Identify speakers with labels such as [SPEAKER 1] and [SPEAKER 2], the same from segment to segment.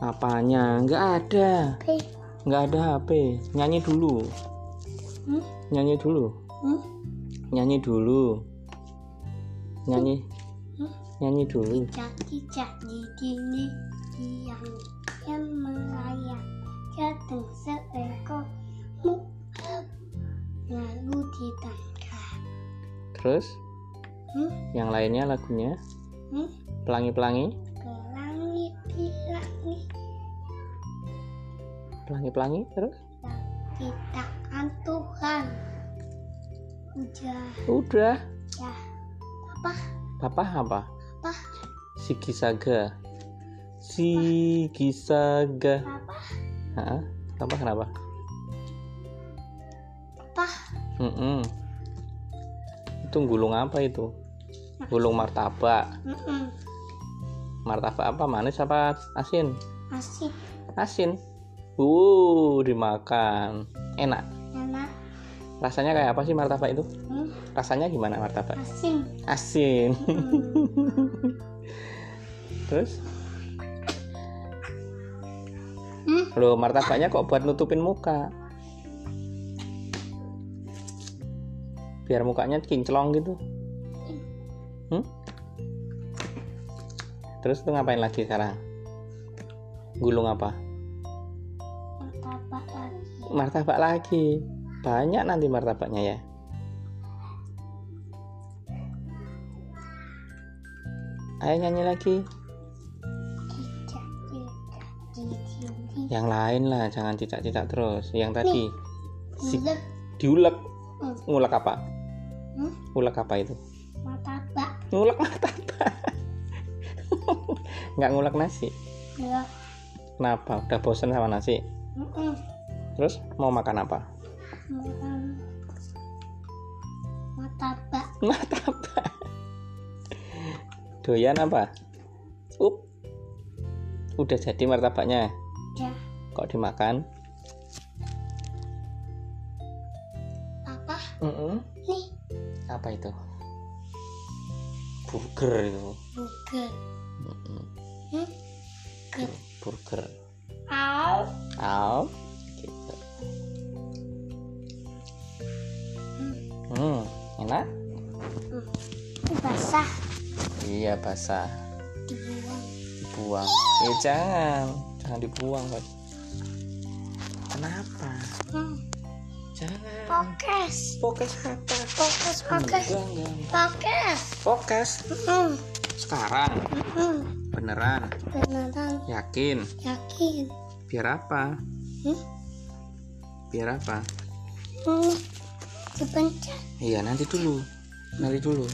[SPEAKER 1] Apanya? Nggak ada.
[SPEAKER 2] P.
[SPEAKER 1] Nggak ada HP. Nyanyi dulu.
[SPEAKER 2] Hmm?
[SPEAKER 1] Nyanyi dulu.
[SPEAKER 2] Hmm?
[SPEAKER 1] Nyanyi dulu. Nyanyi.
[SPEAKER 2] Hmm?
[SPEAKER 1] Nyanyi dulu.
[SPEAKER 2] Cak-cak di sini tiang yang merayap jatuh seekor mukab lalu ditangkap.
[SPEAKER 1] Terus
[SPEAKER 2] Hmm?
[SPEAKER 1] yang lainnya lagunya
[SPEAKER 2] Hmm?
[SPEAKER 1] Pelangi-pelangi.
[SPEAKER 2] Ke langit-langit
[SPEAKER 1] Pelangi-pelangi terus.
[SPEAKER 2] ciptaan kan Tuhan. Udah,
[SPEAKER 1] Udah.
[SPEAKER 2] ya. Apa?
[SPEAKER 1] Papa apa?
[SPEAKER 2] Apa?
[SPEAKER 1] Sigi Saga. Sigi Saga.
[SPEAKER 2] Apa?
[SPEAKER 1] Hah? Kenapa kenapa?
[SPEAKER 2] Apa?
[SPEAKER 1] Mm-mm. Itu gulung apa itu? Gulung martabak.
[SPEAKER 2] Mm-mm.
[SPEAKER 1] Martabak apa? Manis apa asin?
[SPEAKER 2] Masih
[SPEAKER 1] Asin. Uh, dimakan. Enak.
[SPEAKER 2] enak.
[SPEAKER 1] Rasanya kayak apa sih martabak itu?
[SPEAKER 2] Hmm?
[SPEAKER 1] Rasanya gimana martabak?
[SPEAKER 2] Asin.
[SPEAKER 1] Asin.
[SPEAKER 2] Hmm.
[SPEAKER 1] Terus?
[SPEAKER 2] Hmm?
[SPEAKER 1] Loh, martabaknya kok buat nutupin muka? Biar mukanya kinclong gitu. Hmm? Terus tuh ngapain lagi sekarang? Gulung apa?
[SPEAKER 2] Martabak lagi.
[SPEAKER 1] Martabak lagi. Banyak nanti martabaknya ya. Ayo nyanyi lagi.
[SPEAKER 2] Cicak-cicak di sini.
[SPEAKER 1] Yang lain lah, jangan cicak-cicak terus. Yang tadi Si-
[SPEAKER 2] Gulek.
[SPEAKER 1] diulek.
[SPEAKER 2] Hmm.
[SPEAKER 1] Ngulek apa?
[SPEAKER 2] Hmm?
[SPEAKER 1] Ngulek apa itu?
[SPEAKER 2] Martabak.
[SPEAKER 1] ngulek martabak nggak ngulek nasi
[SPEAKER 2] Gulek.
[SPEAKER 1] kenapa udah bosen sama nasi
[SPEAKER 2] Mm-mm.
[SPEAKER 1] terus mau makan apa
[SPEAKER 2] Makan Martabak.
[SPEAKER 1] martabak doyan apa up udah jadi martabaknya
[SPEAKER 2] Ya.
[SPEAKER 1] kok dimakan
[SPEAKER 2] Apa?
[SPEAKER 1] Mm-mm.
[SPEAKER 2] Nih.
[SPEAKER 1] apa itu burger itu
[SPEAKER 2] Bukan.
[SPEAKER 1] Mm-mm.
[SPEAKER 2] Hmm? Ke.
[SPEAKER 1] burger
[SPEAKER 2] Au.
[SPEAKER 1] Au. gitu
[SPEAKER 2] Hmm.
[SPEAKER 1] hmm enak
[SPEAKER 2] Basah.
[SPEAKER 1] iya basah
[SPEAKER 2] Dibuang.
[SPEAKER 1] dibuang eh jangan jangan dibuang Pak. kenapa
[SPEAKER 2] Hmm.
[SPEAKER 1] jangan
[SPEAKER 2] Pokes.
[SPEAKER 1] fokus apa
[SPEAKER 2] Pokes. Pokes.
[SPEAKER 1] Enggak, enggak.
[SPEAKER 2] Pokes.
[SPEAKER 1] fokus
[SPEAKER 2] Hmm.
[SPEAKER 1] sekarang
[SPEAKER 2] Hmm.
[SPEAKER 1] beneran
[SPEAKER 2] Beneran
[SPEAKER 1] yakin
[SPEAKER 2] yakin.
[SPEAKER 1] biar apa
[SPEAKER 2] Hmm?
[SPEAKER 1] biar apa
[SPEAKER 2] Hmm. Dipencet.
[SPEAKER 1] iya nanti dulu nanti dulu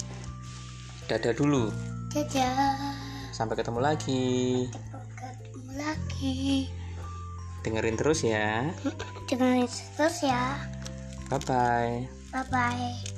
[SPEAKER 1] dadah dulu
[SPEAKER 2] Dadah.
[SPEAKER 1] sampai ketemu lagi
[SPEAKER 2] ketemu lagi
[SPEAKER 1] dengerin terus ya
[SPEAKER 2] dengerin terus ya
[SPEAKER 1] bye bye
[SPEAKER 2] bye bye